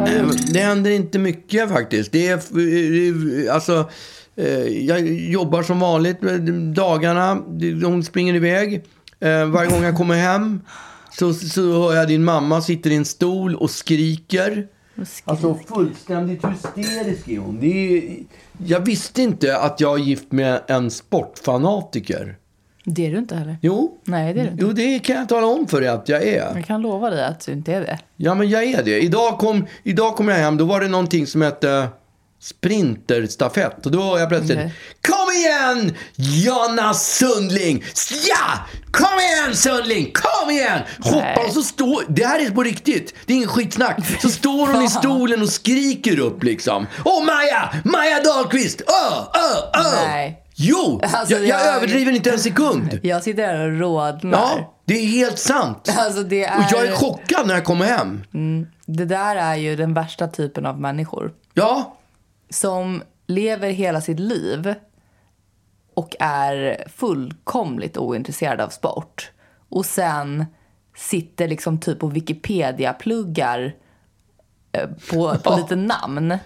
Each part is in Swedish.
Äh. Det händer inte mycket faktiskt. Det är, det är- alltså, eh, jag jobbar som vanligt med dagarna. Hon springer iväg. Eh, varje gång jag kommer hem så, så hör jag din mamma sitter i en stol och skriker. Alltså fullständigt hysterisk är hon. Det är, jag visste inte att jag är gift med en sportfanatiker. Det är du inte heller. Jo, Nej, det är du inte. jo det kan jag tala om för dig att jag är. Jag kan lova dig att du inte är det. Ja, men jag är det. Idag kom, idag kom jag hem, då var det någonting som hette sprinterstafett. Och då hör jag plötsligt, Okej. kom igen Jonna Sundling! Ja! Kom igen Sundling! Kom igen! Hoppar och så står, det här är på riktigt, det är ingen skitsnack. Så står hon i stolen och skriker upp liksom. Åh Maja! Maja Dahlqvist! Ö, ö, ö! Nej. Jo! Alltså, jag, jag jag- överdriver inte en sekund. Jag sitter här och rodnar. Ja, det är helt sant. Alltså det är... Och jag är chockad när jag kommer hem. Det där är ju den värsta typen av människor. Ja, Som lever hela sitt liv och är fullkomligt ointresserad av sport. Och sen sitter liksom typ och Wikipedia-pluggar eh, på, på lite namn.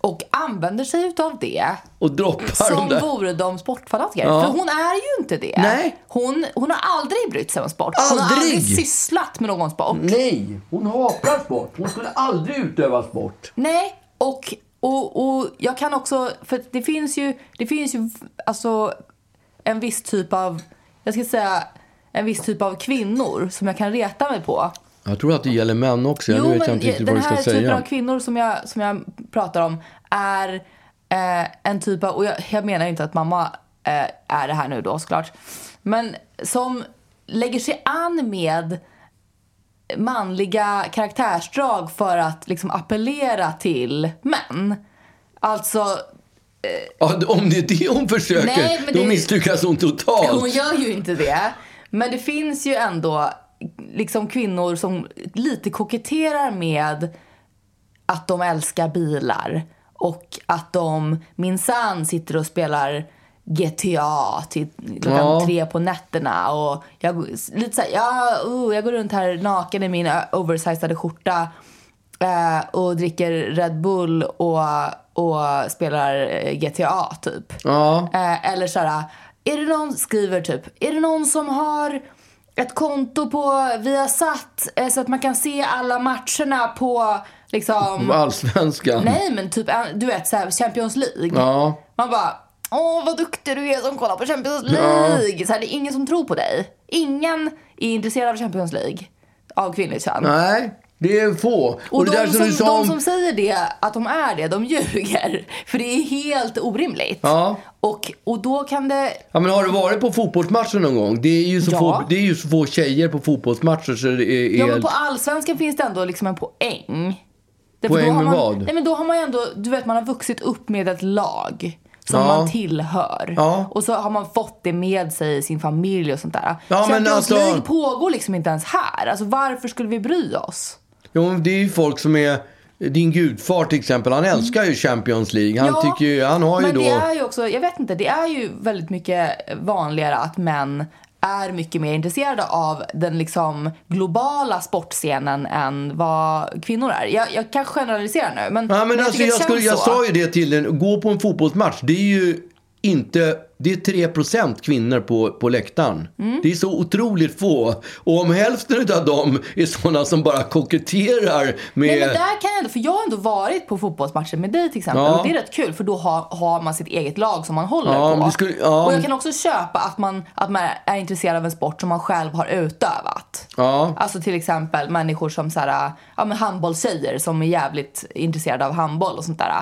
Och använder sig utav det och droppar de Som där. vore de sportfanatiker. Ja. För hon är ju inte det. Nej. Hon, hon har aldrig brytt sig om sport. Hon har Aldrig. aldrig sysslat med någon sport. Nej, hon hatar sport. Hon skulle aldrig utöva sport. Nej, och, och, och jag kan också... För det finns ju, det finns ju alltså, en viss typ av... Jag ska säga en viss typ av kvinnor som jag kan reta mig på. Jag tror att det gäller män också. nu Jo, vet jag men inte riktigt vad den du ska här typen säga. av kvinnor som jag, som jag pratar om är eh, en typ av, och jag, jag menar ju inte att mamma eh, är det här nu då såklart, men som lägger sig an med manliga karaktärsdrag för att liksom appellera till män. Alltså, Ja, om det är det hon försöker, Nej, men då det- misslyckas hon totalt. hon gör ju inte det. Men det finns ju ändå liksom kvinnor som lite koketterar med att de älskar bilar och att de minsann sitter och spelar GTA till klockan Ja. tre på nätterna. Och jag, lite såhär, ja, oh, jag går runt här naken i min ö- oversizade skjorta eh, och dricker Red Bull och, och spelar eh, GTA typ. Ja. Eh, eller så här, är det någon, skriver typ, är det någon som har ett konto på Viasat eh, så att man kan se alla matcherna på liksom... Allsvenskan. Nej men typ, eh, du vet så här, Champions League. Ja. Man bara, åh vad duktig du är som kollar på Champions League. Så här, det är ingen som tror på dig. Ingen är intresserad av Champions League. Av kvinnligt kön. Nej, det är få. Och, det de, där som, du sa de om- som säger det, att de är det, de ljuger. För det är helt orimligt. Ja. Och, och då kan det Ja, men har du varit på fotbollsmatcher någon gång? Det är ju så, Ja. få, det är ju så få tjejer på fotbollsmatcher så det är... Ja är- men på allsvenskan finns det ändå liksom en poäng. Därför Poäng då har med man, vad? Nej men då har man ju ändå, du vet man har vuxit upp med ett lag. Som Ja. man tillhör. Ja. Och så har man fått det med sig i sin familj och sånt där. Ja, men Champions alltså- League pågår liksom inte ens här. Alltså varför skulle vi bry oss? Jo, men det är ju folk som är... Din gudfar till exempel, han älskar ju Champions League. Han, Ja, tycker ju, han har ju men då... det är ju också, jag vet inte, det är ju väldigt mycket vanligare att män är mycket mer intresserade av den liksom globala sportscenen än vad kvinnor är. Jag, jag kan generalisera nu men, Ja, men alltså, tycker jag, det känns skulle, jag så. sa ju det till en, gå på en fotbollsmatch, det är ju inte, det är 3% kvinnor på, på läktaren. Mm. Det är så otroligt få. Och om hälften av dem är sådana som bara koketterar med... Nej, men där kan jag ändå, för jag har ändå varit på fotbollsmatcher med dig till exempel Ja. och det är rätt kul för då har, har man sitt eget lag som man håller Ja, men på. det skulle- ja. Och jag kan också köpa att man, att man är intresserad av en sport som man själv har utövat. Ja. Alltså till exempel människor som så här, ja, men handbollstjejer som är jävligt intresserade av handboll och sånt där.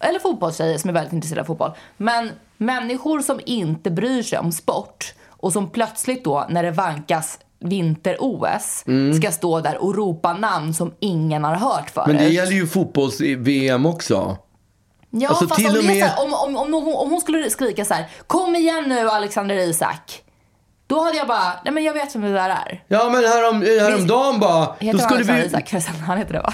Eller fotbollstjejer som är väldigt intresserade av fotboll. Men människor som inte bryr sig om sport och som plötsligt då när det vankas vinter-OS ska stå där och ropa namn som ingen har hört förut. Mm. Men det gäller ju fotbolls-VM också. Ja, Alltså, fast till om, och det är med- så här, om, om, om, någon, om hon skulle skrika så här: kom igen nu Alexander Isak. Då hade jag bara, nej men jag vet vem det där är. Ja, men härom, häromdagen bara... Då Heter han skulle Alexander vi, Isak förresten? Han heter det va?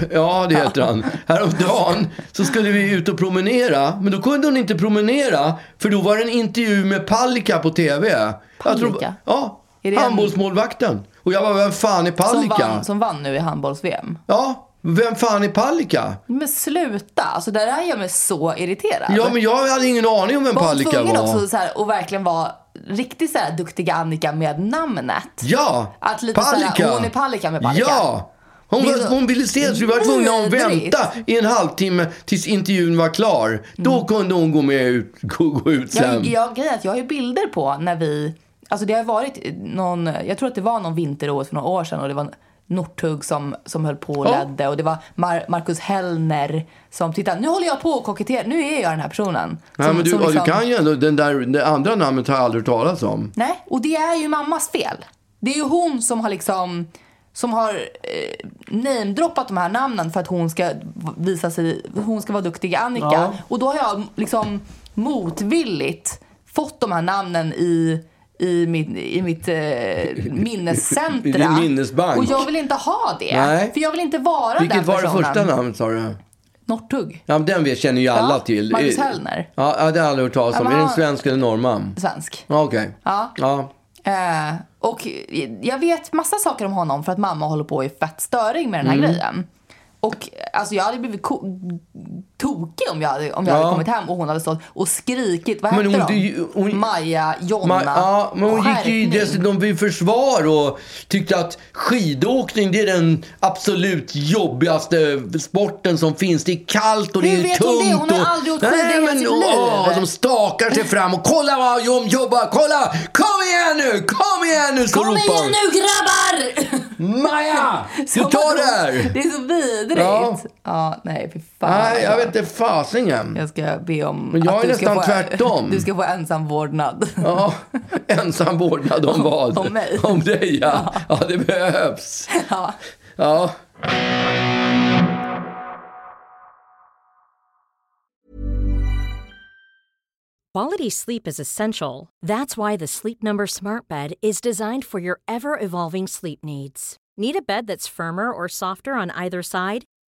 Ja, det heter han. Häromdagen så skulle vi ut och promenera, men då kunde hon inte promenera för då var det en intervju med Palicka på TV. Jag Palicka? ja, Är det en- handbollsmålvakten. Och jag bara, vem fan är Som Palicka? vann, som vann nu i handbolls-VM. Ja, Vem fan är Palicka? Men sluta! Alltså det där gör mig så irriterad. Ja, men jag hade ingen aning om vem var hon Palicka tvungen var. också så här, och verkligen vara riktigt så här duktiga Annika med namnet? Ja, Att lite så här, hon är Palicka med Palicka. Ja! Hon, Det är var, så- hon ville se så vi var tvungna att Vidrigt. vänta i en halvtimme tills intervjun var klar. Mm. Då kunde hon gå med ut, gå, gå ut sen. Jag, jag, grejen är att jag har ju bilder på när vi, alltså det har varit någon, jag tror att det var någon vinter för några år sedan och det var Northug som, som höll på och Ja. ledde och det var Mar- Marcus Hellner som, titta nu håller jag på och koketterar, nu är jag den här personen. Som, Nej, men du, som ja, liksom- du kan ju ändå, den där, det andra namnet har jag aldrig hört talas om. Nej, och det är ju mammas fel. Det är ju hon som har liksom som har eh, namedroppat de här namnen för att hon ska visa sig, hon ska vara duktig Annika. Ja. Och då har jag liksom motvilligt fått de här namnen i, i, min, i mitt eh, I minnescentra. din minnesbank. Och jag vill inte ha det. Nej. För jag vill inte vara den Vilket var det personen. första namnet sa du? Northug. Ja, men den vet- känner ju alla Ja, till. Marcus Eh, Hellner. Ja, ja, det har jag aldrig hört talas om. Ja, men Är den han- svensk eller norrman? Svensk. Ja, Okej. Ja. Ja. Eh, och jag vet massa saker om honom för att mamma håller på och är fett störig med den Mm. här grejen. Och alltså jag hade blivit ko- tokig om jag, hade, om jag Ja. hade kommit hem och hon hade stått och skrikit. Vad Men hette hon- de? du- hon- Maja, Jonna, Ma- ja, men hon gick ju skärpning. dessutom vid försvar och tyckte att skidåkning det är den absolut jobbigaste sporten som finns. Det är kallt och det Hur är vet tungt. hon det? Hon har och... aldrig åkt skidor i hela sitt och- liv. och de stakar sig fram och kolla vad de jobbar, kolla! Kom igen nu, kom igen nu! så Kom ropar igen hon. nu grabbar! Maja! Du Som tar att det hon- här! Det är så vidrigt. Ja. Ja, nej fy fan. Nej, jag vet inte fasingen. Jag ska be om Men jag att är du ska nästan få, tvärtom. Du ska få ensam vårdnad. Ja, ensam vårdnad om vad? om mig. Om dig, ja. Ja, det behövs. Ja. Ja. Quality sleep is essential. That's why the Sleep Number Smart Bed is designed for your ever evolving sleep needs. Need a bed that's firmer or softer on either side?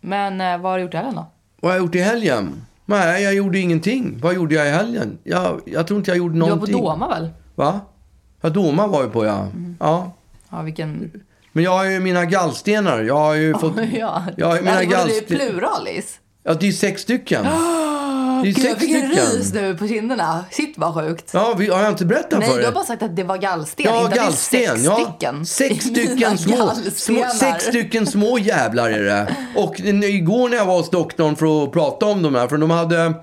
Men eh, vad har du gjort i helgen då? Vad har jag gjort i helgen? Nej, jag gjorde ingenting. Vad gjorde jag i helgen? Jag, jag tror inte jag gjorde någonting. Du var på Doma väl? Va? Ja, Doma var ju på, ja. Mm. ja. Ja, vilken... Men jag har ju mina gallstenar. Jag har ju fått... ja. Jag har ju mina Alltså, var det gallstenar. pluralis? Ja, det är sex stycken. Det är Gud, jag sex fick en rys stycken. nu på kinderna. Shit vad sjukt. Ja, vi, har jag inte berättat Nej, för du har er? bara sagt att det var gallsten. Ja, inte att Det är gallsten. sex Ja. stycken. Sex Det är mina stycken små, små, gallstenar. sex stycken små jävlar är det. Och n- igår när jag var hos doktorn för att prata om de här, för de hade,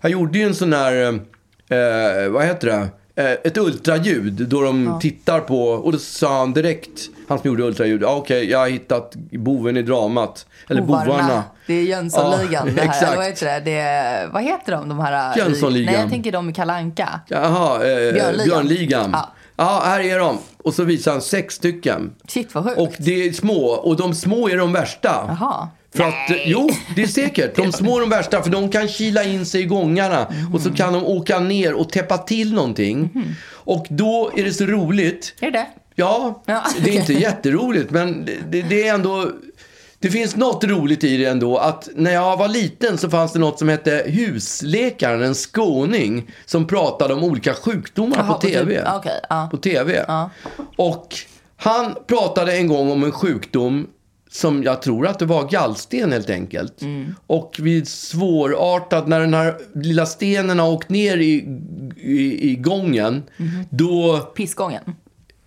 jag gjorde ju en sån här, eh, vad heter det? Eh, Ett ultraljud då de tittar på, och då sa han direkt, han som gjorde ultraljud, ah, okej jag har hittat boven i dramat. Eller bovarna. Det är Jönssonligan Ja, det här. exakt. Eller Vad heter det? det är, vad heter de? de här, i- Jönssonligan. Nej, jag tänker de i Kalanka. Jaha, eh, Björnligan. Björnligan. Ja. Ja. här är de. Och så visar han sex stycken. Shit vad sjukt. Och det är små, och de små är de värsta. Jaha. För att, jo, det är säkert. De små är de värsta, för de kan kila in sig i gångarna och så kan de åka ner och täppa till någonting. Och då är det så roligt. Är det det? Ja, Ja, det är inte okej. jätteroligt, men det- det, det är ändå... Det finns något roligt i det ändå. Att när jag var liten så fanns det något som hette husläkaren, en skåning, som pratade om olika sjukdomar Jaha, på på typ- tv. okej, ja. På tv. Och han pratade en gång om en sjukdom som jag tror att det var gallsten helt enkelt. Mm. Och vid svårartad, när den här lilla Mhm. stenen har åkt ner i, i, i gången, då Pissgången.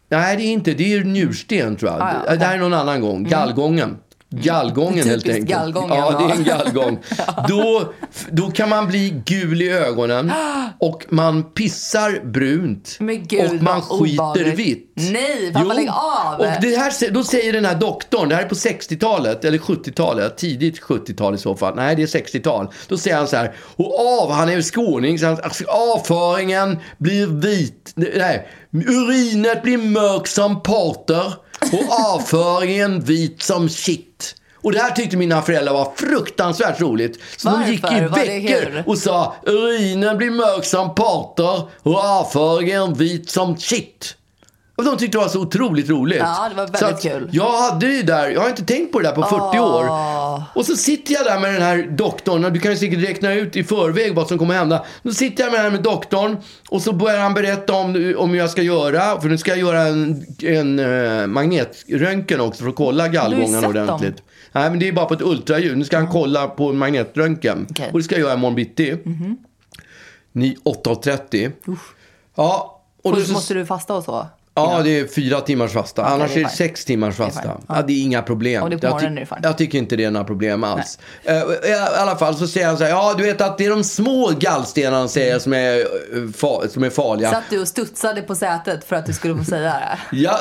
Nej, det är inte. Det är njursten tror jag. Ah, ja, okej. Det här är någon annan gång. Gallgången. Gallgången helt Typiskt enkelt. gallgången, ja, ja. det är en gallgång. Då, då kan man bli gul i ögonen och man pissar brunt Men gud, och man vad skiter obehagligt. vitt. Nej, pappa, lägg av. Och det här, sä- då säger den här doktorn, det här är på 60-talet eller 70-talet, tidigt 70-tal i så fall. Nej, det är 60-tal. Då säger han så här, och av, han är ju skåning, så han, alltså, avföringen blir vit, nej, urinet blir mörk som porter och avföringen vit som shit. Och det här tyckte mina föräldrar var fruktansvärt roligt. Så de gick i Varför? Var det hur? veckor och sa urinen blir mörk som porter och avföringen vit som shit. Och de tyckte det var så otroligt roligt. Ja, det var väldigt så att kul. Jag hade det där, jag har inte tänkt på det där på 40 år. Och så sitter jag där med den här doktorn, och du kan ju säkert räkna ut i förväg vad som kommer hända. Då sitter jag med den här med doktorn och så börjar han berätta om, om hur jag ska göra. För nu ska jag göra en, en eh, magnetröntgen också för att kolla gallgångarna sett dem? ordentligt. Nej, men det är bara på ett ultraljud. Nu ska han kolla på en magnetröntgen. Okej. Mhm. Och det ska jag göra imorgon bitti. Ni- 8.30. Ja, och då Och så- måste du fasta och så? Ja, det är fyra timmars fasta. Annars det är är det fine. sex timmars Det är fasta. fine. Ja, det är inga problem. Om det är på jag, morgonen är det fine. jag tycker inte det är några problem alls. Eh, I alla fall så säger han så här, ja du vet att det är de små gallstenarna säger jag, som, är, eh, fa- som är farliga. Satt du och studsade på sätet för att du skulle få säga det? Jag,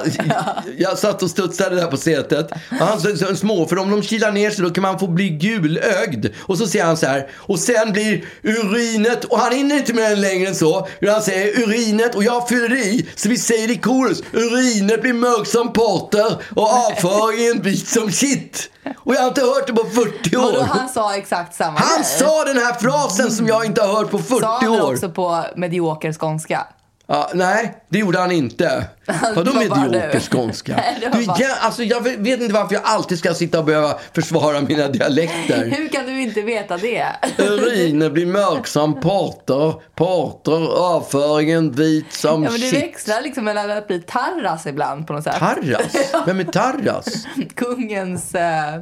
jag satt och studsade där på sätet. Och Han sa så små, för om de kilar ner sig då kan man få bli gulögd. Och så säger han så här, och sen blir urinet, och han hinner inte med den längre än så. Utan han säger urinet och jag fyller i, så vi säger i korus, urinet blir mörkt som porter och avföringen vit som shit. Och jag har inte hört det på 40 Vadå, år. han sa exakt samma Han grej? sa den här frasen som jag inte har hört på 40 Sa han det år. också på medioker skånska? Ja, nej, det gjorde han inte. Vadå Det var bara medioker du. skånska? Nej, det var Du, bara- jag, alltså, jag vet inte varför jag alltid ska sitta och behöva försvara mina dialekter. Hur kan du inte veta det? Urinen blir mörk som porter, porter, avföringen vit som Ja, men du shit. växlar liksom mellan att bli Tarras ibland på något sätt. Tarras? Vem är Tarras? Kungens... Eh,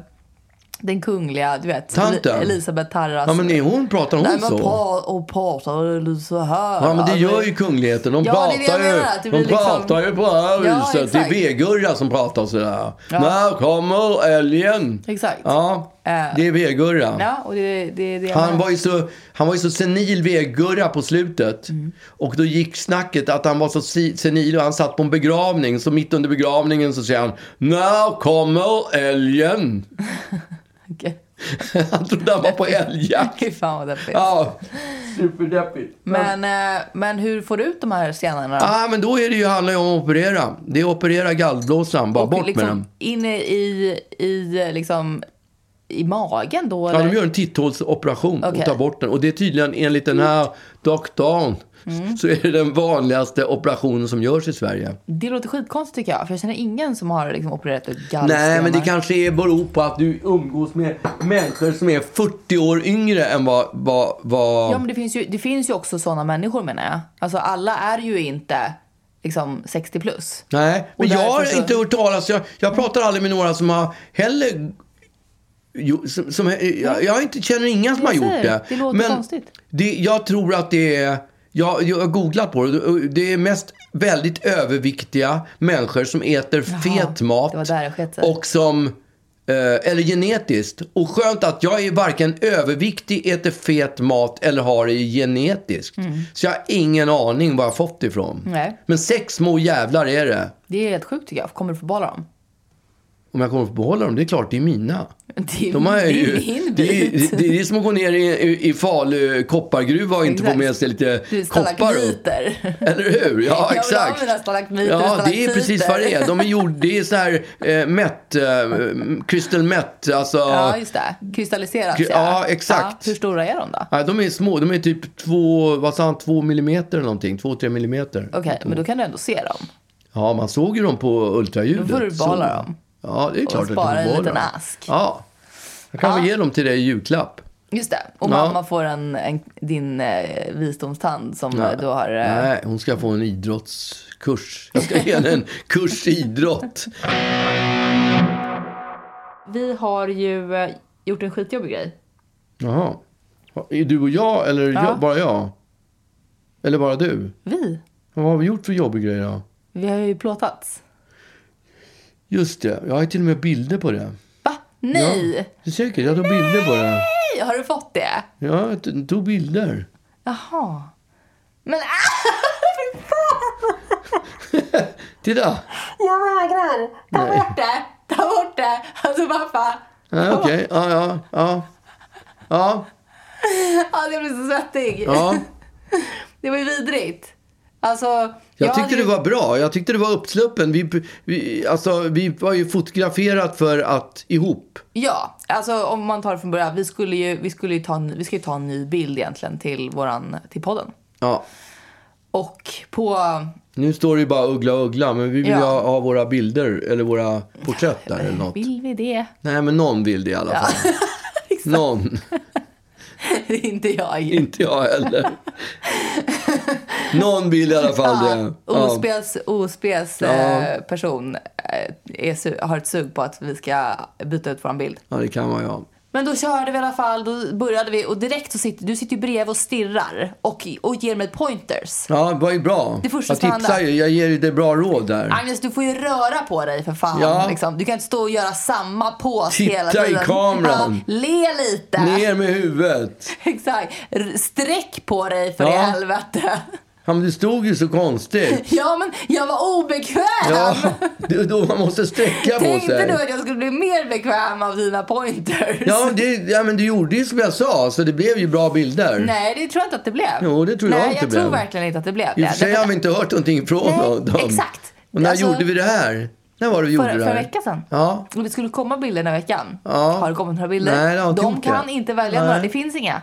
den kungliga, du vet. Tanten? Elisabeth Tarras. Ja, men är hon, pratar hon Nej, men så? pa- och pratar du så här? Ja, men det gör ju Alltså, kungligheten. De Ja, det är det pratar jag ju menar, att det De blir liksom- pratar ju på det här Ja, viset. Det är exakt. V-Gurra som pratar sådär. När kommer älgen? Exakt. Äh. Ja, det är V-Gurra. Ja, och det, det, det Han var ju så, han var ju så senil veggurra på slutet. Mm. Och då gick snacket att han var så si- senil och han satt på en begravning. Så mitt under begravningen så säger han När kommer älgen? Okej. Han trodde han var på älgjakt. Fy fan vad deppigt. Ja, superdeppigt. Men, eh, men hur får du ut de här stenarna då? Ja, men då är det ju, handlar ju om att operera. Det är att operera gallblåsan, bara Och bort liksom med den. Inne i, i, eh, liksom, i magen då? Ja, eller? de gör en titthålsoperation Okej. och tar bort den. Och det är tydligen enligt den här doktorn Mm. så är det den vanligaste operationen som görs i Sverige. Det låter skitkonstigt tycker jag. För jag känner ingen som har liksom, opererat ut gallstenar. Nej, men det kanske är beror på att du umgås med människor som är 40 år yngre än vad... vad, vad... Ja, men det finns ju, det finns ju också sådana människor menar jag. Alltså alla är ju inte liksom 60 plus. Nej, men Och jag därför har så- inte hört talas... Jag, jag pratar aldrig med några som har heller... Jo, som, som, jag, jag har inte, känner inga som Jag har gjort säger, det. det låter men konstigt. Det, jag tror att det är... Jag, jag har googlat på det. och Det är mest väldigt överviktiga människor som äter fet mat. det var där det skett sig. och som... eh, Eller genetiskt. Och skönt att jag är varken överviktig, äter fet mat eller har det genetiskt. Så jag har ingen aning var jag fått ifrån. Mm. Nej. Men sex små jävlar är det. Det är helt sjukt tycker jag. Kommer du få behålla dem? Om jag kommer att få behålla dem, det är klart, det är mina. Det är, De har det är jag ju, min det, är, bit. det, det är som att gå ner i, i, i Falu koppargruva och inte få Exakt. med sig lite Du, koppar upp. stalagmiter. Eller hur? Jag Ja, vill ha exakt. mina stalagmiter och Ja, det är stalaktiter. precis vad det är. De är gjord, det är så här eh, mätt, eh, crystal mätt, alltså. Ja, just det. Kristalliserat. Kry- ja, exakt. hur stora är de då? Nej, de är små, de är typ två, vad sa han, två millimeter eller någonting, två, tre millimeter. Okej, men då kan du ändå se dem. Ja, man såg ju dem på ultraljudet. Då får du behålla Så- dem. Ja, det är klart att du får spara en behålla liten dem. ask. Ja. Jag kan väl ge dem till dig i julklapp. Just det. Och Ja. mamma får en, en, din eh, visdomstand som eh, du har... Eh, Nej, hon ska få en idrottskurs. Jag ska ge henne en kurs i idrott. Vi har ju eh, gjort en skitjobbig grej. Jaha. Är du och jag eller jag, bara jag? Eller bara du? Vi? Vad har vi gjort för jobbig grej då? Vi har ju plåtats. Just det, jag har till och med bilder på det. Va? Nej! Ja, det är säkert, jag tog bilder på det. Nej! Har du fått det? Ja, jag t- tog bilder. Jaha. Men ah! Fy fan! Titta! Jag vägrar! Ta bort det! Ta bort det! Alltså pappa. Ja, Okej, ja, ja, ja. Ja, Ja, jag blir så svettig. ja. Det var ju vidrigt. Alltså. Jag tyckte hade det ju- var bra. Jag tyckte det var uppsluppen. Vi, vi, alltså, vi var ju fotograferat för att ihop. Ja, alltså om man tar det från början. Vi skulle ju, vi skulle ju ta, en, vi skulle ju ta en ny bild egentligen till våran, till podden. Ja. Och på, Nu står det ju bara Uggla Uggla, men vi vill Ja. ju ha, ha våra bilder eller våra porträtt där eller något. vill vi det? Nej, men någon vill det i alla fall. någon. det är inte jag. Inte jag heller. någon vill i alla fall det. Ja. Ospes, ospes eh, person eh, är, su- har ett sug på att vi ska byta ut våran bild. ja, det kan vara jag. Men då körde vi i alla fall, då började vi och direkt så sitter du sitter ju bredvid och stirrar och, och ger mig pointers. Ja, det var ju bra. Det första jag som tipsar hände. ju. Jag ger ju dig bra råd där. Agnes, du får ju röra på dig för fan. Ja. Liksom. Du kan inte stå och göra samma pose Titta hela i tiden. kameran. Ja, le lite. Ner med huvudet. Exakt. R- Sträck på dig för Ja. i helvete. Ja, men du stod ju så konstigt. Ja, men jag var obekväm. Ja, det är då man måste sträcka på Tänkte du sig. att jag skulle bli mer bekväm av dina pointers? Ja, men det, ja, men du gjorde ju som jag sa, så det blev ju bra bilder. Nej, det tror jag inte att det blev. Jo, det tror jag Nej, inte jag blev. tror verkligen inte att det blev I det. och för sig Därför har att- vi inte hört någonting från Nej, dem. exakt. Och när Alltså- gjorde vi det här? När var det vi gjorde Förra, det förra här? veckan sedan. Ja. Och det skulle komma bilder den här veckan. Ja. Har det kommit några bilder? Nej, det har inte De gjort kan det. inte välja Nej. några, det finns inga.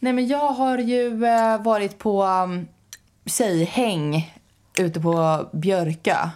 Nej, men jag har ju eh, varit på um, tjejhäng ute på Björka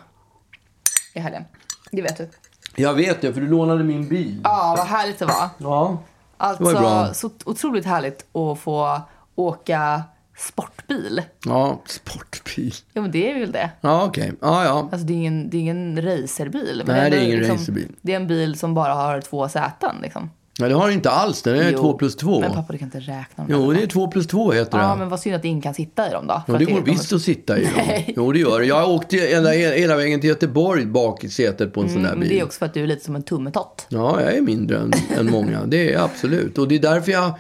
i helgen. Det vet du. Jag vet det, för du lånade min bil. Ja, vad härligt det var. Ja. var ju Alltså, bra. så otroligt härligt att få åka sportbil. Ja, sportbil. Ja, men det är väl det. Ja, okej. Ja, ja. Alltså det är ingen, det är ingen racerbil. men Nej, ändå liksom det är ingen racerbil. Det är en bil som bara har två säten liksom. Nej, det har du inte alls. Det är Jo. 2 plus 2. Men pappa, du kan inte räkna dem. Jo, det är 2 plus 2 heter det. Ja, men vad synd att ingen kan sitta i dem då. Ja, för att det går de är- visst att sitta i dem. Jo, det gör det. Jag åkte hela, hela vägen till Göteborg bak i sätet på en sån där Mm, Men det är bil. också för att du är lite som en tummetott. Ja, jag är mindre än, än många. Det är jag absolut. Och det är därför jag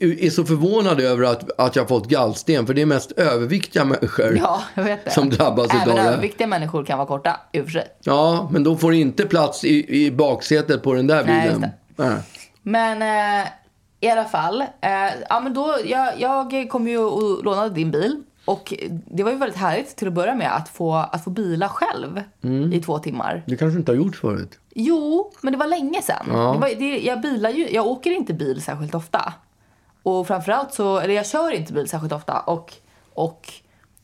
är så förvånad över att, att jag fått gallsten. För det är mest överviktiga människor. Ja, jag vet det. Som drabbas utav Även det. överviktiga människor kan vara korta, i och för sig. Ja, men de får inte plats i, i baksätet på den där Nej, bilen. Nej. Men eh, i alla fall. Eh, ja, men då, jag, jag kom ju och lånade din bil. Och det var ju väldigt härligt till att börja med att få, att få bila själv i två timmar. Det kanske inte har gjorts förut. Jo, men det var länge sedan. Ja. Det var, det, jag, bilar ju, jag åker inte bil särskilt ofta. Och framförallt så, eller jag kör inte bil särskilt ofta. Och, och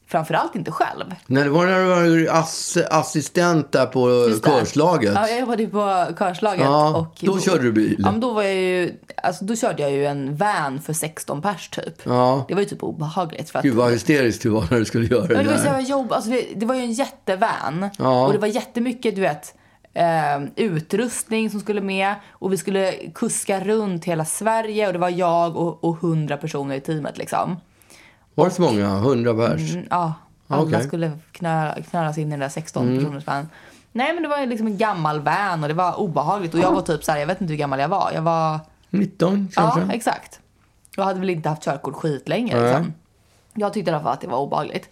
framförallt inte själv. Nej, det var när du var ass, assistent där på Just det. körslaget. Ja, jag jobbade ju på körslaget. Ja, och då körde du bil. Ja, men då, var jag ju, alltså, då körde jag ju en van för 16 pers typ. Ja. Det var ju typ obehagligt. För att, Gud vad hysteriskt du var när du skulle göra det men det där. var ju så jävla jobb. Alltså, det, det var ju en jättevan. Ja. Och det var jättemycket, du vet, eh, eh, utrustning som skulle med och vi skulle kuska runt hela Sverige och det var jag och, och 100 personer i teamet liksom. Var det så många? Hundra pers? Mm, Ja, alla Okej. skulle knö, knöras in i den där 16 personers van. Nej men det var ju liksom en gammal van och det var obehagligt och jag var typ så här, jag vet inte hur gammal jag var. Jag var 19 kanske? Ja, exakt. Jag hade väl inte haft körkort skitlänge Nej. liksom. Jag tyckte i alla fall att det var obehagligt.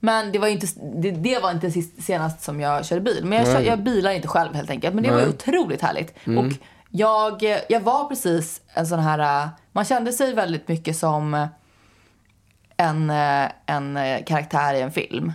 Men det var inte, det, det var inte sist, senast som jag körde bil. Men jag, kör, jag bilar inte själv helt enkelt. Men det var ju otroligt härligt. Mm. Och jag, jag var precis en sån här, äh, man kände sig väldigt mycket som en, äh, en äh, karaktär i en film.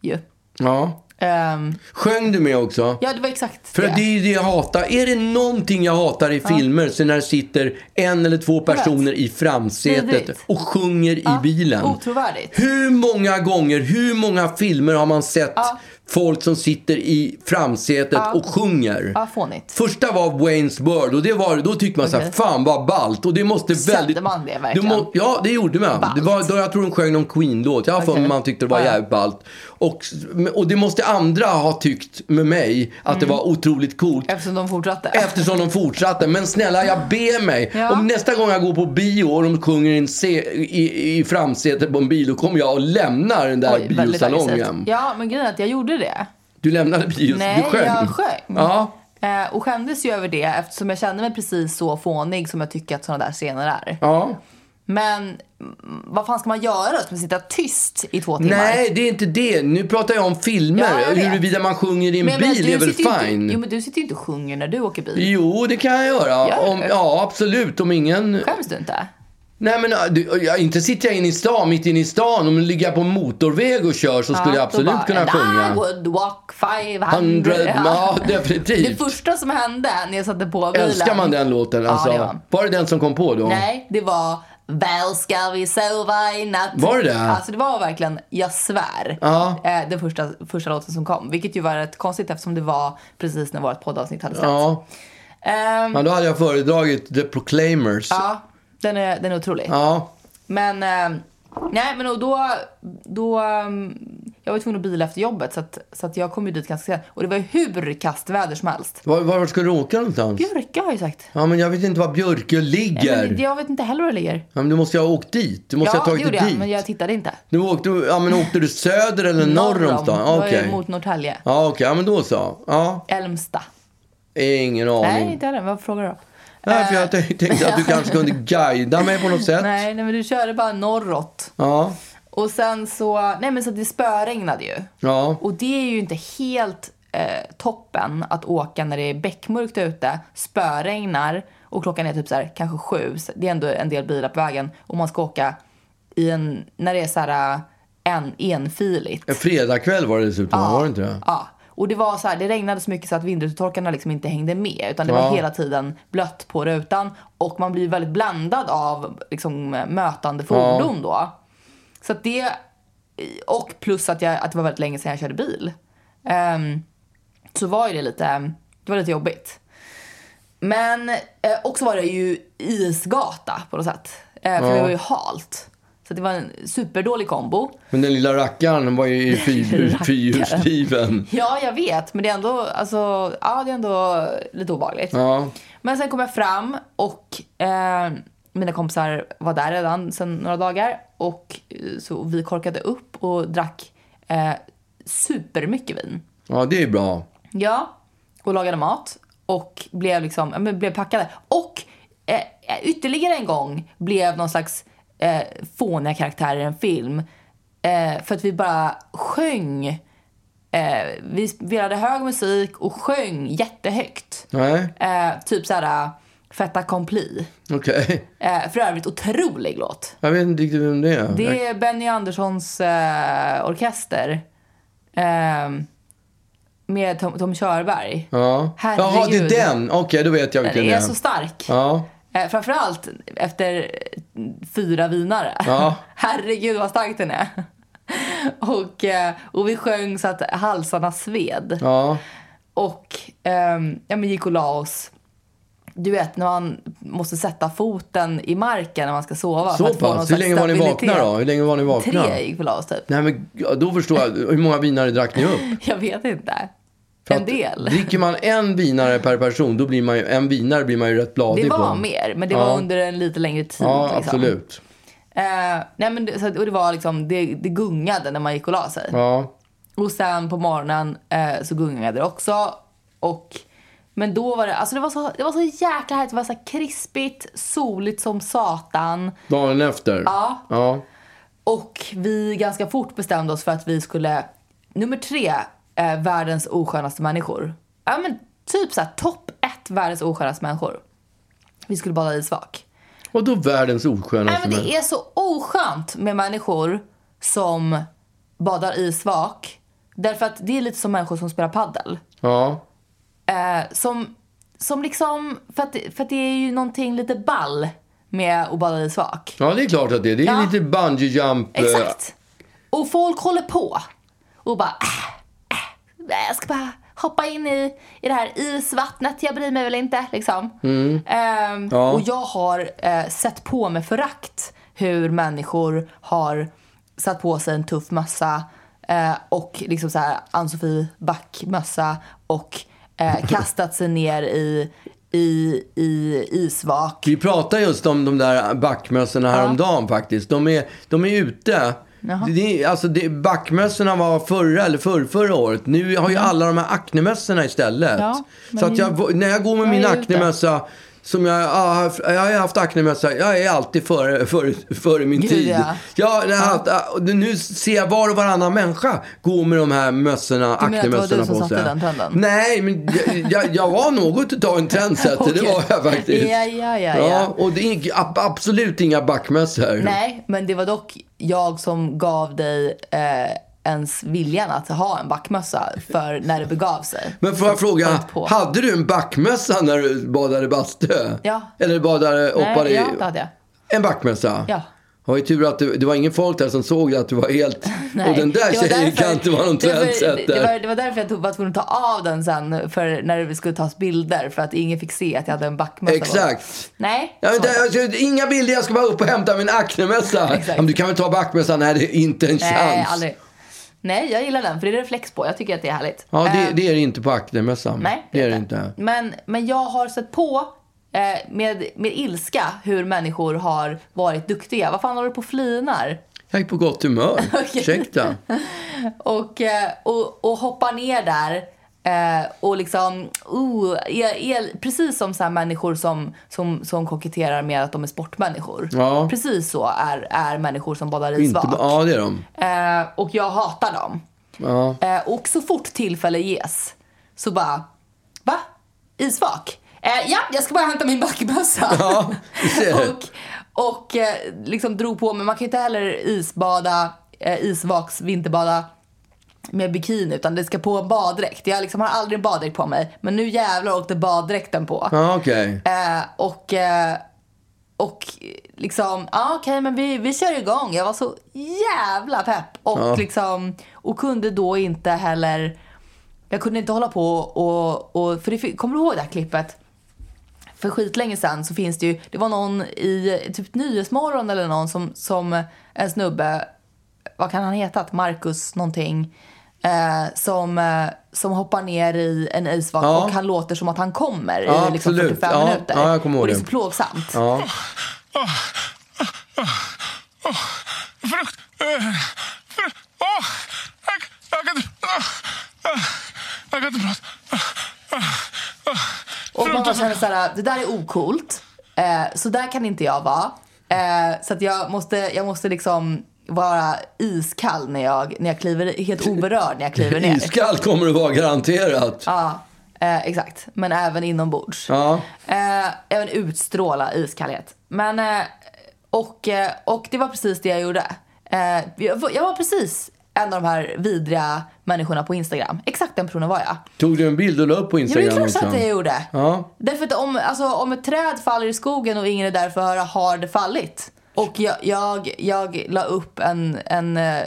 Ju. ja. Ehm, Sjöng du med också? ja, det var exakt För det. att det är ju det jag hatar. Är det någonting jag hatar i filmer så när det sitter en eller två personer i framsätet Vidrigt. och sjunger i Ja, bilen. Otrovärdigt. Hur många gånger, hur många filmer har man sett folk som sitter i framsätet och sjunger? Ja, fånigt. Första var Wayne's World och det var, då tyckte man så här, Okej. fan vad ballt. Och det måste Kände väldigt... Mm. man det verkligen? Du må- ja, det gjorde man. Ballt. Det var, då jag tror de sjöng någon Queen-låt. Jag har för mig Okej. man tyckte det var Ja, ja. jävligt ballt. Och, och det måste andra ha tyckt med mig, att Mm. det var otroligt coolt. Eftersom de fortsatte. Eftersom de fortsatte. Men snälla, jag ber mig. Ja. Om nästa gång jag går på bio och de sjunger i en se- i, i framsätet på en bil, då kommer jag och lämnar den där Oj, väldigt biosalongen. aggressivt. Ja, men grejen är att jag gjorde det. Du lämnade bios, Nej, du sjöng. jag sjöng. Ja. Eh, och skämdes ju över det eftersom jag kände mig precis så fånig som jag tycker att sådana där scener är. Ja. Men mm, vad fan ska man göra då? Ska man sitta tyst i två timmar? Nej, det är inte det. Nu pratar jag om filmer. Ja, jag vet. Huruvida man sjunger i en Men jag menar, bil du är väl sitter ju inte- fine. Jo, men du sitter ju inte och sjunger när du åker bil. Jo, det kan jag göra. Gör du? Om, ja, absolut. Om ingen... Skäms du inte? Nej, men äh, du, jag, inte sitter jag in i stan, mitt inne i stan. Om jag ligger på en motorväg och kör så skulle Ja, jag då absolut bara, kunna "And I sjunga. would walk 500. 100, ja definitivt. Det första som hände när jag satte på bilen. Älskar man den låten? Ja, Alltså, det gör man. var det den som kom på då? Nej, det var Väl ska vi sova i natt. Var det det? Alltså det var verkligen Jag svär. Ja. Eh, Den första, första låten som kom. Vilket ju var rätt konstigt eftersom det var precis när vårt poddavsnitt hade släppts. Ja. Ehm, ja, då hade jag föredragit The Proclaimers. Ja. ja, den är, den är otrolig. Men, ehm, nej men och då, då, ehm, jag var ju tvungen att bila efter jobbet så att, så att jag kom ju dit ganska sent. Och det var ju hur kastväder som helst. Var, var ska du åka någonstans? Björka har jag ju sagt. Ja, men jag vet inte var Björkö ligger. Men jag vet inte heller var det ligger. Ja, men du måste ju ha åkt dit. Du måste Ja, ha det tagit gjorde dig jag, dit. men jag tittade inte. Du åkte, ja, men åkte du söder eller norr om stan? Det var ju Okej. mot Norrtälje. Ja, okej. Ja, men då så. Ja, Älmsta. ingen aning. Nej, inte heller. Vad frågar du då? Nej, för jag tänkte tänkte att du kanske kunde guida mig på något sätt. Nej, nej, men du körde bara norrut. Ja, Och sen så, nej men så att det spöregnade ju. ja. Och det är ju inte helt eh, toppen att åka när det är beckmörkt ute, spöregnar och klockan är typ så här, kanske sju. Så Det är ändå en del bilar på vägen och man ska åka i en, när det är så här eh, en, enfiligt. En fredagkväll var det dessutom, var det inte det? Ja. Och det var så här, det regnade så mycket så att vindrutetorkarna liksom inte hängde med. Utan det Ja. var hela tiden blött på rutan. Och man blir ju väldigt bländad av liksom, mötande fordon då. Så att det... Och plus att, jag, att det var väldigt länge sedan jag körde bil. Ehm, så var ju det lite, det var lite jobbigt. Men eh, också var det ju isgata på något sätt. Eh, för det var ju halt. Så det var en superdålig kombo. Men den lilla rackaren var ju i fyrhjul- Rackaren. fyrhjulsdriven. Ja, jag vet. Men det är ändå, alltså, ja, det är ändå lite obehagligt. Ja. Men sen kom jag fram och eh, mina kompisar var där redan sen några dagar. Och eh, så vi korkade upp och drack eh, supermycket vin. ja, det är bra. Ja, och lagade mat. Och blev liksom, ja, men blev packade. Och eh, ytterligare en gång blev någon slags eh, fåniga karaktärer i en film. Eh, för att vi bara sjöng. Eh, vi spelade hög musik och sjöng jättehögt. Nej, Eh, typ såhär, fait accompli. okej. Eh, för övrigt otrolig låt. Jag vet inte riktigt vem det är. Det är Benny Anderssons eh, orkester. Eh, med Tom, Tom Körberg. Ja. Jaha, det är Herregud. den. Okej, då vet jag vilken Den det är så stark. Ja. Eh, framförallt efter eh, fyra vinare. Ja. Herregud vad stark den är. Och, eh, och vi sjöng så att halsarna sved. Ja. Och ehm, ja, men gick och la oss. Du vet när man måste sätta foten i marken när man ska sova. för Så att få någon pass. Hur slags länge var ni stabilitet. vakna då? Hur länge var ni vakna? Tre gick vi och la oss typ. Nej men ja, då förstår jag. Hur många vinare drack ni upp? Jag vet inte. För En att del. Dricker man en vinare per person, då blir man ju, en vinare blir man ju rätt bladig Det på. var mer, men det var under en lite längre tid. Ja, liksom. absolut. Eh, nej, men det, så, att- och det var liksom, det, det gungade när man gick och la sig. Ja. Och sen på morgonen eh, så gungade det också. Och, men då var det, alltså det var så, det var så jäkla härligt. Det var så här krispigt, soligt som satan. Dagen efter. Ja. ja. Och vi ganska fort bestämde oss för att vi skulle, nummer tre, eh, världens oskönaste människor. Ja men typ såhär topp ett världens oskönaste människor. Vi skulle bada i svak. Och då världens Nej oskönaste men det är så oskönt med människor som badar i svak. Därför att det är lite som människor som spelar paddel. Ja. Eh, som, som liksom, för att, för att det är ju någonting lite ball med att bada i svak. ja, det är klart att det är. Det är Ja. lite bungee jump. eh, Exakt. Och folk håller på och bara "Äh, äh, jag ska bara hoppa in i, i det här isvattnet, jag bryr mig väl inte liksom. Ehm, Mm. Ja. Och jag har eh, sett på med förakt hur människor har satt på sig en tuff mössa eh, och liksom så här Ann-Sofie Back-mössa och eh, kastat sig ner i, i, i isvak. Vi pratade just om de där backmössorna häromdagen faktiskt. De är, de är ute. Jaha. Det, är- alltså det, backmössorna var förra eller förr, förra året. Nu har ju alla de här aknemössorna istället. Ja, så men att jag, när jag går med min är ute. aknemössa som jag, ja, jag har ju haft aknemössa, jag är alltid före, före, före min Gud, tid. ja. Ja, när jag har haft, och nu ser jag var och varannan människa gå med de här mössorna, Du menar att det var du aknemössorna som på satte sig. den trenden? Nej, men jag, jag, jag var något utav en trendsetter, det var jag faktiskt. Ja, ja, ja, Ja, ja. och det är ing- ab- absolut inga backmössor. Nej, men det var dock jag som gav dig eh, ens viljan att ha en backmössa för när det begav sig. Men får jag fråga, Hållt på. hade du en backmössa när du badade bastu? Ja. Eller badade, hoppade Nej, i? ja, det hade jag. En backmössa? Ja. Det var ju tur att det, det var ingen folk där som såg att du var helt... Nej, och den där det var tjejen därför- kan inte vara någon det var- Det var, trendsetter. det var därför jag tog, var tvungen att ta av den sen för när det skulle tas bilder för att ingen fick se att jag hade en backmössa på. Exakt. Nej. Ja, men så- där, alltså, inga bilder, jag ska bara upp och hämta min aknemössa. Exakt. Ja, men du kan väl ta backmössan? Nej, det är inte en chans. Nej, aldrig. Nej, jag gillar den för det är reflex på. Jag tycker att det är härligt. Ja, det, Eh, det är det inte på aknemössan. Nej, det är det inte. Men, men jag har sett på eh, med, med ilska hur människor har varit duktiga. Vad fan håller du på och flinar? Jag är på gott humör. Ursäkta. Och, eh, och, och hoppar ner där. Eh, och liksom, oh, el, el, precis som så här människor som, som, som koketterar med att de är sportmänniskor. Ja. Precis så är, är människor som badar i Inte, svak. ja, det är de. Eh, och jag hatar dem. Ja. Eh, och så fort tillfälle ges så bara, va? Isvak? Eh, ja, jag ska bara hämta min backmössa. Ja, du ser. och och eh, liksom drog på mig, man kan ju inte heller isbada, eh, isvaks vinterbada med bikini utan det ska på en baddräkt. Jag liksom har aldrig en baddräkt på mig men nu jävlar åkte baddräkten på. Ja, okej. Eh, och, eh, och liksom, ja okej men vi, vi kör igång. Jag var så jävla pepp. Och, Ja. liksom, och kunde då inte heller, jag kunde inte hålla på och, och för det, fi- kommer du ihåg det här klippet? För skitlänge sedan så finns det ju, det var någon i typ Nyhetsmorgon eller någon som, som en snubbe, vad kan han heta, Marcus någonting. Eh, som, eh, som hoppar ner i en isvak Ja. och han låter som att han kommer Ja, i liksom absolut. 45 Ja, minuter. ja, jag kommer ihåg och det är det. så plågsamt. Ja. Frukt... eh, Frukt... Åh! Jag, jag kan inte... ah, ah, Jag kan inte prata. Ah, ah, ah. Och man bara Frukt... känner såhär, det där är ocoolt. Eh, så där kan inte jag vara. Eh, så att jag måste, jag måste liksom vara iskall när jag, när jag kliver, helt oberörd när jag kliver ner. Iskall kommer det vara garanterat. Ja, eh, exakt. Men även inombords. Ja. Eh, även utstråla iskallhet. Men, eh, och, eh, och det var precis det jag gjorde. Eh, jag, var- jag var precis en av de här vidriga människorna på Instagram. Exakt den personen var jag. Tog du en bild och la upp på Ja, men det är Instagram klart så att också? jag gjorde. Ja. Därför att om, alltså, om ett träd faller i skogen och ingen är där för att höra har det fallit. Och jag, jag, jag la upp en, en, eh,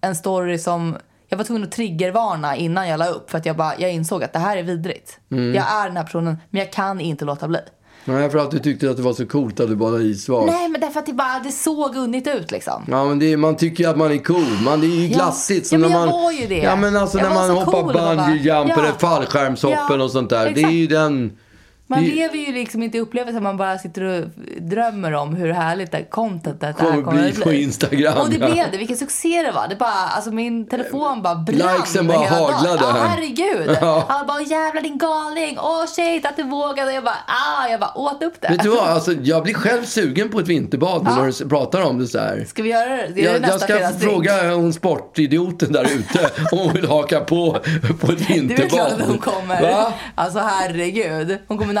en story som jag var tvungen att triggervarna innan jag la upp för att jag, bara, jag insåg att det här är vidrigt. Jag är den här personen men jag kan inte låta bli. Nej, för att du tyckte att det var så coolt att du badade isvak. Nej, men därför att det, bara, det såg unnigt ut liksom. Ja, men det, är- man tycker ju att man är cool. Man, det är ju glassigt. Ja, men när jag man, var ju det. Ja, men alltså Jag när var man så hoppar cool och bara- bungee jump Ja. eller fallskärmshoppen Ja, och sånt där. Det är exakt. ju den... Man det- lever ju liksom inte i upplevelsen, man bara sitter och drömmer om hur härligt det här contentet det här Kommer kommer bli att på bli. Instagram. Och det ja. blev det, vilken succé det var. Det bara, alltså min telefon bara brann. Likesen bara hela dagen. haglade. Ja, herregud. Ja. Alla bara, jävlar din galning, åh shit att du vågade. Jag bara, ah, jag bara åt upp det. Vet du vad, alltså, jag blir själv sugen på ett vinterbad nu när du pratar om det så här. Ska vi göra det? Det är Jag, nästa jag ska fredagsdrink. fråga hon sportidioten där ute om hon vill haka på på ett Det är väl klart vinterbad. att hon kommer. Va? Alltså herregud. Hon kommer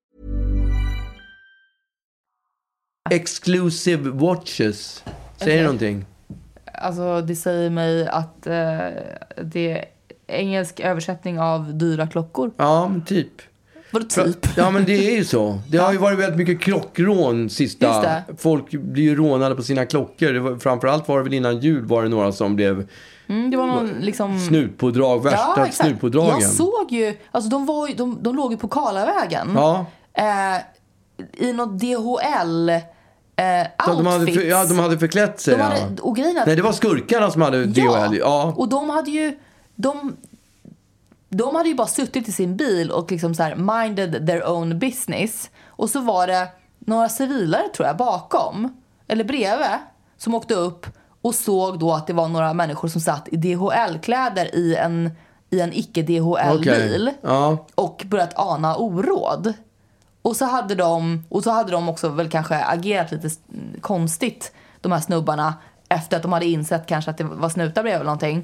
Exclusive watches. Säger okay. någonting. Alltså, det säger mig att eh, det är engelsk översättning av dyra klockor. Ja, men typ. Vadå typ? Ja, men det är ju så. Det har ju varit väldigt mycket klockrån Just sista. det. Folk blir ju rånade på sina klockor. Det var, framförallt var det väl innan jul var det några som blev Mm, det var någon liksom... snutpådrag. Värsta exakt. snutpådragen. Jag såg ju, alltså de, var ju, de, de låg ju på Karlavägen. Ja. Eh, I något DHL eh, Så att de hade, outfits. för, ja, de hade förklätt sig. De hade- ja. och grejen är att- Nej, det var skurkarna som hade DHL. Ja. och de hade ju... De, de hade ju bara suttit i sin bil och liksom så här minded their own business. Och så var det några civilare tror jag bakom, eller bredvid, som åkte upp och såg då att det var några människor som satt i DHL-kläder i en, i en icke-DHL-bil Okej. Ja. och börjat ana oråd. Och så hade de, och så hade de också väl kanske agerat lite s- konstigt, de här snubbarna, efter att de hade insett kanske att det var snutar bredvid eller någonting.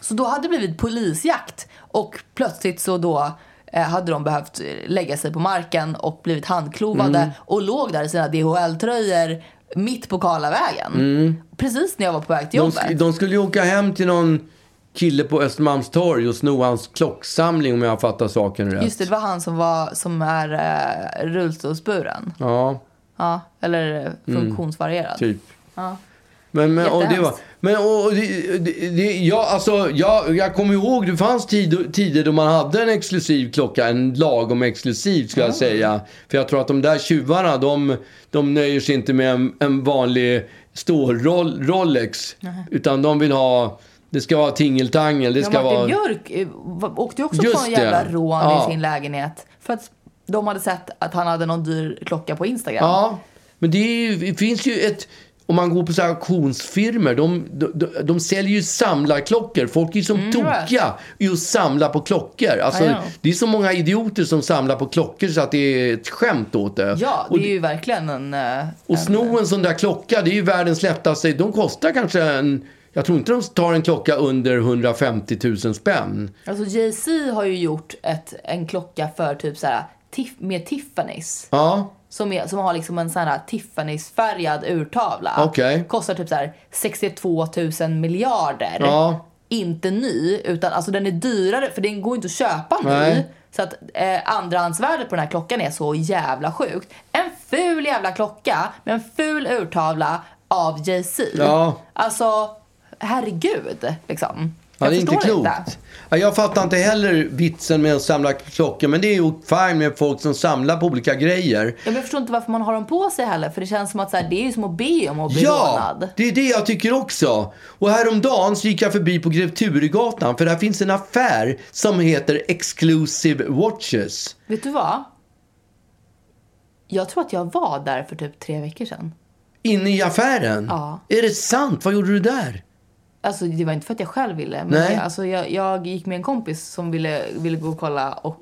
Så då hade det blivit polisjakt och plötsligt så då eh, hade de behövt eh, lägga sig på marken och blivit handklovade Mm. och låg där i sina DHL-tröjor mitt på Karlavägen. Precis när jag var på väg till Mm. De, jobbet. sk- de skulle ju åka hem till någon kille på Östermalmstorg och sno hans klocksamling om jag fattar saken rätt. Just det, det var han som, var, som är eh, rullstolsburen. Ja, Ja, eller eh, funktionsvarierad. Mm. typ. Men, men, och det var, Jättehemskt. men och, och det, det, det, jag, alltså, jag, jag kommer ihåg, det fanns tid, tider då man hade en exklusiv klocka, en lagom exklusiv skulle jag säga. För jag tror att de där tjuvarna, de, de nöjer sig inte med en, en vanlig stål-Rolex. Utan de vill ha, det ska vara tingeltangel, det Ja, ska Martin vara... Björk eh, var- åkte ju också Just på en jävla det. rån Ja. i sin lägenhet. För att de hade sett att han hade någon dyr klocka på Instagram. Ja, men det, är ju, det finns ju ett... Om man går på så här auktionsfirmor, de, de, de, de säljer ju samlarklockor. Folk är ju som tokiga i att samla på klockor. Alltså, Mm, Ja, ja. det är så många idioter som samlar på klockor så att det är ett skämt åt det. Ja, det och, är ju verkligen en... eh, och sno en sån där klocka, det är ju världens lättaste. De kostar kanske en... Jag tror inte de tar en klocka under 150 000 spänn. Alltså Jay-Z har ju gjort ett, en klocka för typ så här, tiff, med Tiffany's. Ja, Som, är, som har liksom en sån här Tiffany's-färgad urtavla. Okej. Kostar typ så här 62 000 miljarder. Ja. Inte ny, utan alltså den är dyrare för den går inte att köpa ny. Nej. Så att eh, andrahandsvärdet på den här klockan är så jävla sjukt. En ful jävla klocka med en ful urtavla av Jay-Z. Ja. Alltså, herregud liksom. Ja, det är inte förstår klokt. Ja, jag fattar inte heller vitsen med att samla klockor. Men det är ju fine med folk som samlar på olika grejer. Ja, men jag förstår inte varför man har dem på sig heller. För det känns som att så här, det är ju som att be om att bli Ja, rånad. det är det jag tycker också. Och häromdagen så gick jag förbi på Grev Turegatan för där finns en affär som heter Exclusive Watches. Vet du vad? Jag tror att jag var där för typ tre veckor sedan. Inne i affären? Ja. Är det sant? Vad gjorde du där? Alltså det var inte för att jag själv ville. Men Nej. Jag, alltså, jag, jag gick med en kompis som ville, ville gå och kolla och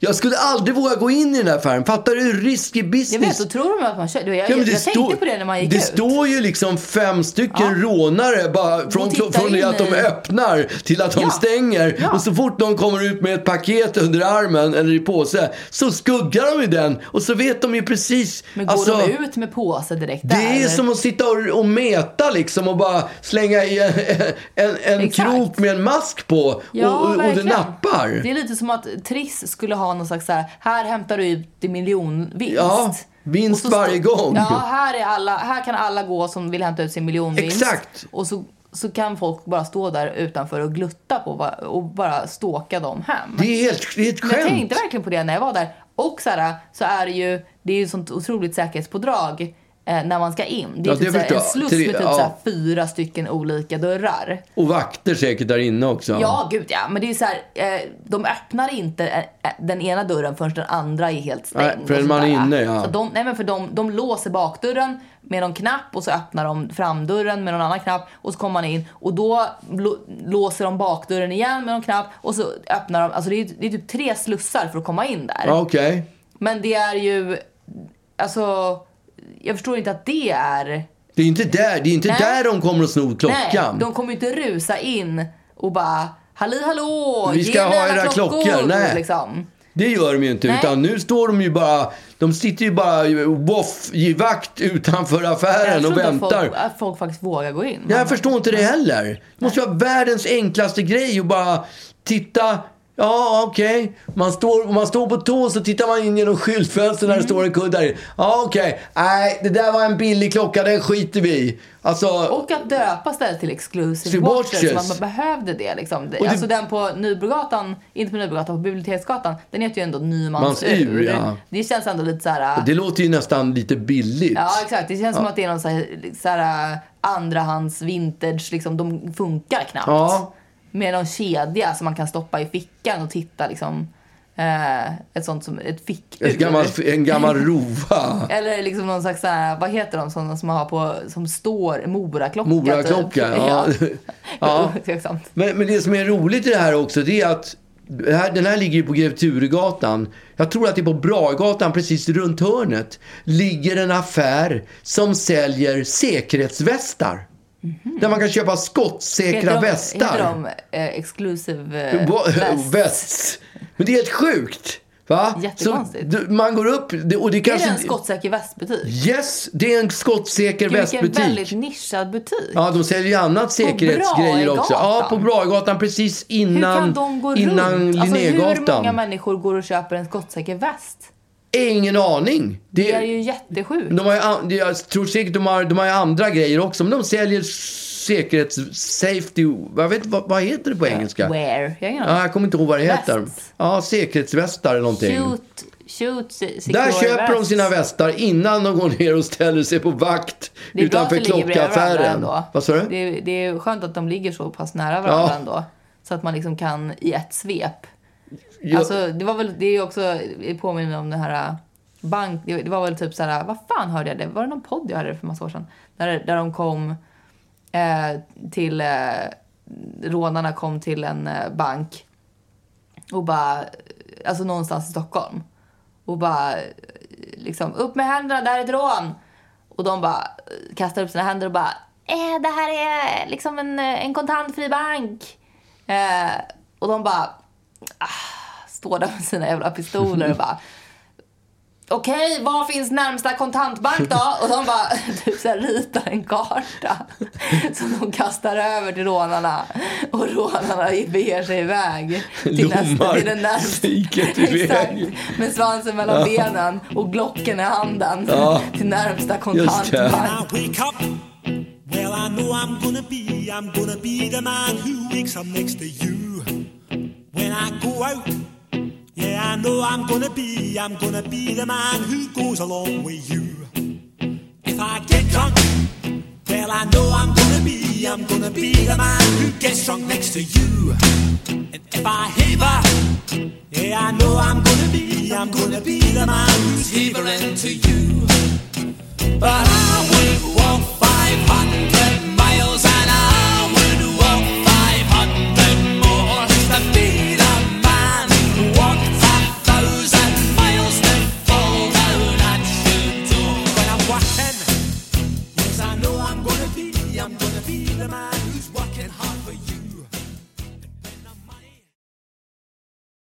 Jag skulle aldrig våga gå in i den här affären. Fattar du hur risky business? jag vet, så tror de att man kör. Du, Jag, Ja, men jag, det jag står- tänkte på det när man gick Det ut. står ju liksom fem stycken rånare bara från, tittar från det in att de i- öppnar till att de Ja. stänger. Ja. Och så fort de kommer ut med ett paket under armen eller i påse så skuggar de ju den. Och så vet de ju precis. alltså, Men går de ut med påse direkt Det där? är eller? som att sitta och, och meta liksom och bara slänga i en, en, en Exakt. krok med en mask på Ja, och, och, och det verkligen. nappar. Det är lite som att Triss skulle ha någon slags så här, här hämtar du ut din miljonvinst. Ja, vinst Och så varje stå- gång. Ja, här, är alla, här kan alla gå som vill hämta ut sin miljonvinst. Exakt. Och så, så kan folk bara stå där utanför och glutta på va- och bara ståka dem hem. Det är helt det är ett Men jag skämt. tänkte verkligen på det när jag var där. Och så, här, så är det ju, det är ju sånt otroligt säkerhetspådrag eh, när man ska in. Det är Ja, det typ så här, förstår en jag. sluss Tre- med typ ja. så här, fyra stycken olika dörrar. Och vakter säkert där inne också. Ja, gud ja. Men det är ju så här, eh, de öppnar inte eh, den ena dörren förrän den andra är helt stängd. Nej, förrän och sånt man är där. inne, ja. Så de, nej, men för de, de låser bakdörren med någon knapp och så öppnar de framdörren med någon annan knapp och så kommer man in och då lo, låser de bakdörren igen med någon knapp och så öppnar de. Alltså det är, ju- det är typ tre slussar för att komma in där. Ja, Okej. Men det är ju, alltså jag förstår inte att det är Det är inte där, det är inte Nej. där de kommer att sno klockan. Nej, de kommer ju inte rusa in och bara Halli hallå, Vi ska ge mig ha alla era klockor." Nej. Liksom. Det gör de ju inte. Nej. Utan nu står de ju bara... De sitter ju bara woff, i vakt utanför affären och tror inte att väntar. Folk, att folk faktiskt vågar gå in. Nej, jag förstår inte det heller. Det måste ju vara världens enklaste grej och bara titta. Ja, okej. Man, står, om man står på tå så tittar man in genom skyltfönstret Mm. när det står en kudde där i. Ja, okej. Nej, det där var en billig klocka. Den skiter vi i. Alltså, Och att döpa stället till exclusive Till watches. watches. Så att man behövde det liksom. det- Alltså den på Nybrogatan, inte på Nybrogatan, på Biblioteksgatan. Den heter ju ändå Mans Nymans ur, ur. ja. Det känns ändå lite såhär... det låter ju nästan lite billigt. Ja exakt, det känns som att det är någon såhär, såhär andrahands vintage, äh, liksom de funkar knappt. Ja. Med någon kedja som man kan stoppa i fickan och titta liksom. Eh, ett sånt som ett fickur. Ett gammalt, en gammal rova. Eller liksom någon slags såhär, vad heter de sådana som man har på, som står, Moraklocka Moraklocka, typ. ja. Ja. Tveksamt. Men, men det som är roligt i det här också, det är att det här, den här ligger ju på Grev Turegatan. Jag tror att det är på Bragatan, precis runt hörnet, ligger en affär som säljer säkerhetsvästar. Mhm. Där man kan köpa skottsäkra Heter de- västar. Heter de eh, exclusive eh, Wa- väst? Väst. Men det är helt sjukt. Va? Jättekonstigt. Så du- man går upp det- och det Är det kanske... en skottsäker västbutik? Yes, det är en skottsäker Gud, Vilken västbutik. väldigt nischad butik. Ja, de säljer ju annat säkerhetsgrejer Brahegatan? också. Ja, på Brahegatan precis Hur innan, kan de gå innan runt? Alltså, hur många Linnégatan. människor går och köper en skottsäker väst? Ingen aning. Det, Det är ju jättesjukt. de har ju, an- jag tror säkert de har, de har ju andra grejer också, men de säljer säkerhets... Safety... Jag vet, vad, vad heter det på engelska? Where? Jag har ingen Ja, aning. jag kommer inte ihåg vad det heter. Vests. Ja, säkerhetsvästar eller någonting. Shoot, shoot, se- secure Där köper de vest. sina västar innan de går ner och ställer sig på vakt Det är bra att utanför vi ligger bredvid varandra klockaffären. ändå. Vad sa du? Det är, det är skönt att de ligger så pass nära varandra Ja. ändå. Så att man liksom kan i ett svep. Jag- Alltså, det var väl, det är ju också, det påminner om den här äh, bank, det det var väl typ så här, vad fan hörde jag det? Var det någon podd jag hörde det för massa år sedan? Där, där de kom eh, till, eh, rånarna kom till en eh, bank och bara, alltså någonstans i Stockholm. Och bara, eh, liksom, upp med händerna, det här är ett rån! Och de bara eh, kastar upp sina händer och bara, eh, det här är liksom en, eh, en kontantfri bank! Eh, och de bara, står där med sina jävla pistoler och bara Okej, var finns närmsta kontantbank då? Och de bara typ så här, ritar en karta som de kastar över till rånarna. Och rånarna beger sig iväg till, nästa, Lommar till den närmsta. stiket iväg. Exakt, med svansen mellan benen och glocken i handen Ja. till närmsta Just det. kontantbank. I wake up. Well, I know I'm gonna be, I'm gonna be the man who wakes up next to you. When I go out, yeah, I know I'm gonna be, I'm gonna be the man who goes along with you. If I get drunk, well, I know I'm gonna be, I'm gonna be the man who gets drunk next to you. And if I haver, Yeah, I know I'm gonna be, I'm gonna be the man who's heaving to you. But I would walk 500 miles and I would walk 500 more just to be the man who walked a thousand miles to fall down at your door. When I'm walking, yes, I know I'm gonna be, I'm gonna be the man who's working hard.